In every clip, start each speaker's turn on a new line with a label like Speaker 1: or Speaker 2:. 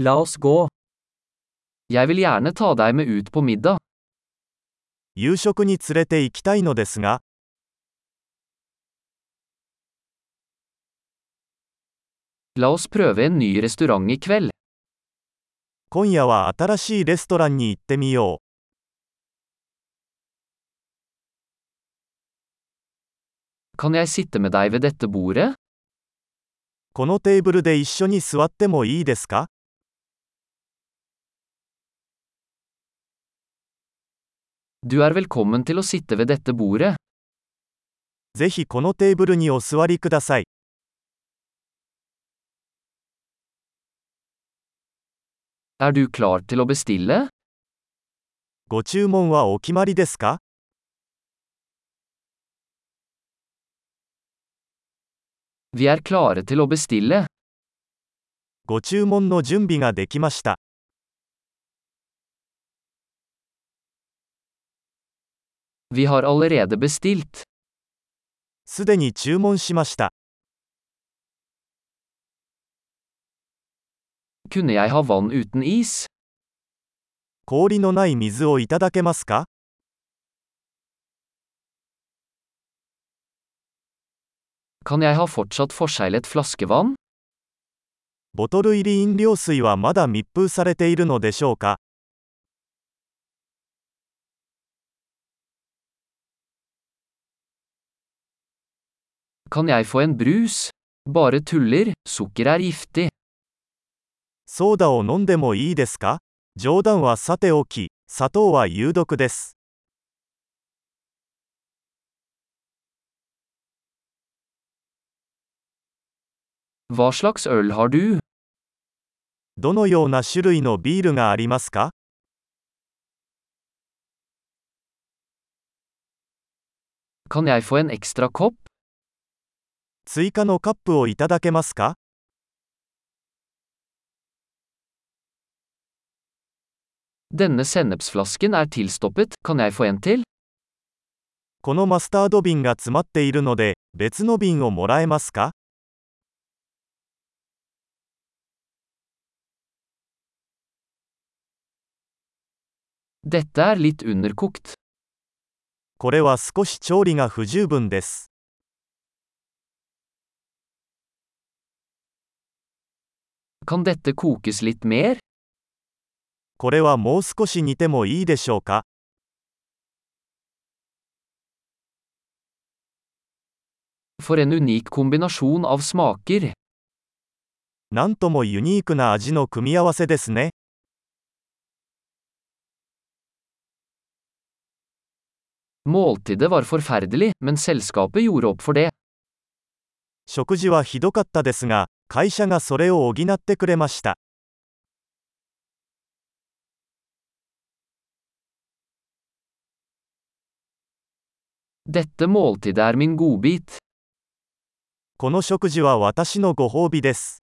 Speaker 1: La oss gå. Jeg vil gjerne ta deg med ut på middag.
Speaker 2: 夕食に連れて行きたいのですが、
Speaker 1: La oss prøve en ny restaurant i kveld.
Speaker 2: 今夜は新しいレストランに行ってみよ
Speaker 1: Kan jeg sitte med deg ved dette bordet?
Speaker 2: う。このテーブルで一緒に座ってもいいですか
Speaker 1: Du er velkommen til å sitte ved dette bordet.
Speaker 2: ぜひこのテーブルにお座りください。
Speaker 1: Er du klar til å bestille?
Speaker 2: ご注文はお決まりですか
Speaker 1: Vi er klare til å bestille.
Speaker 2: ご注文の準備ができました。
Speaker 1: Vi har allerede bestilt.
Speaker 2: すでに注文しました。
Speaker 1: Kunne jeg ha vann uten is?
Speaker 2: 氷のない水をいただけますか
Speaker 1: Kan jeg ha fortsatt forseglet flaskevann?
Speaker 2: ボトル入り飲料水はまだ密封されているのでしょうか
Speaker 1: Kan jeg få en brus? Bare tuller, sukker er giftig.
Speaker 2: ソーダを飲んでもいいですか冗談はさておき、砂糖は有毒です。
Speaker 1: Hva slags øl har du?
Speaker 2: どのような種類のビールがありますか
Speaker 1: Kan jeg få en ekstra kopp?
Speaker 2: 追加のカップをいただけますか
Speaker 1: Denne sennepsflasken er tilstoppet, kan jeg få en til?
Speaker 2: このマスタード瓶が詰まっているので、別の瓶をもらえますか
Speaker 1: Dette er litt underkokt.
Speaker 2: これは少し調理が不十分です。
Speaker 1: Kan dette kokes litt mer?
Speaker 2: これはもう少し煮てもいいでしょうか
Speaker 1: For en unik kombinasjon av smaker.
Speaker 2: なんともユニークな味の組み合わせですね。
Speaker 1: Måltidet var forferdelig, men selskapet gjorde opp for det.
Speaker 2: 食事はひどかったですが、会社がそれを補ってくれました。
Speaker 1: Dette måltidet er min godbit.
Speaker 2: この食事は私のご褒美です。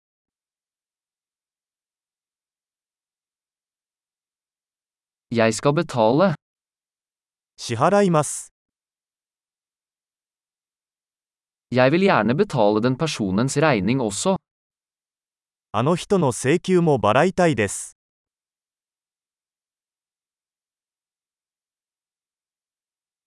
Speaker 1: Jeg skal betale.
Speaker 2: 支払います。
Speaker 1: Jeg vil gjerne betale den personens regning også.
Speaker 2: あの人の請求も払いたいです。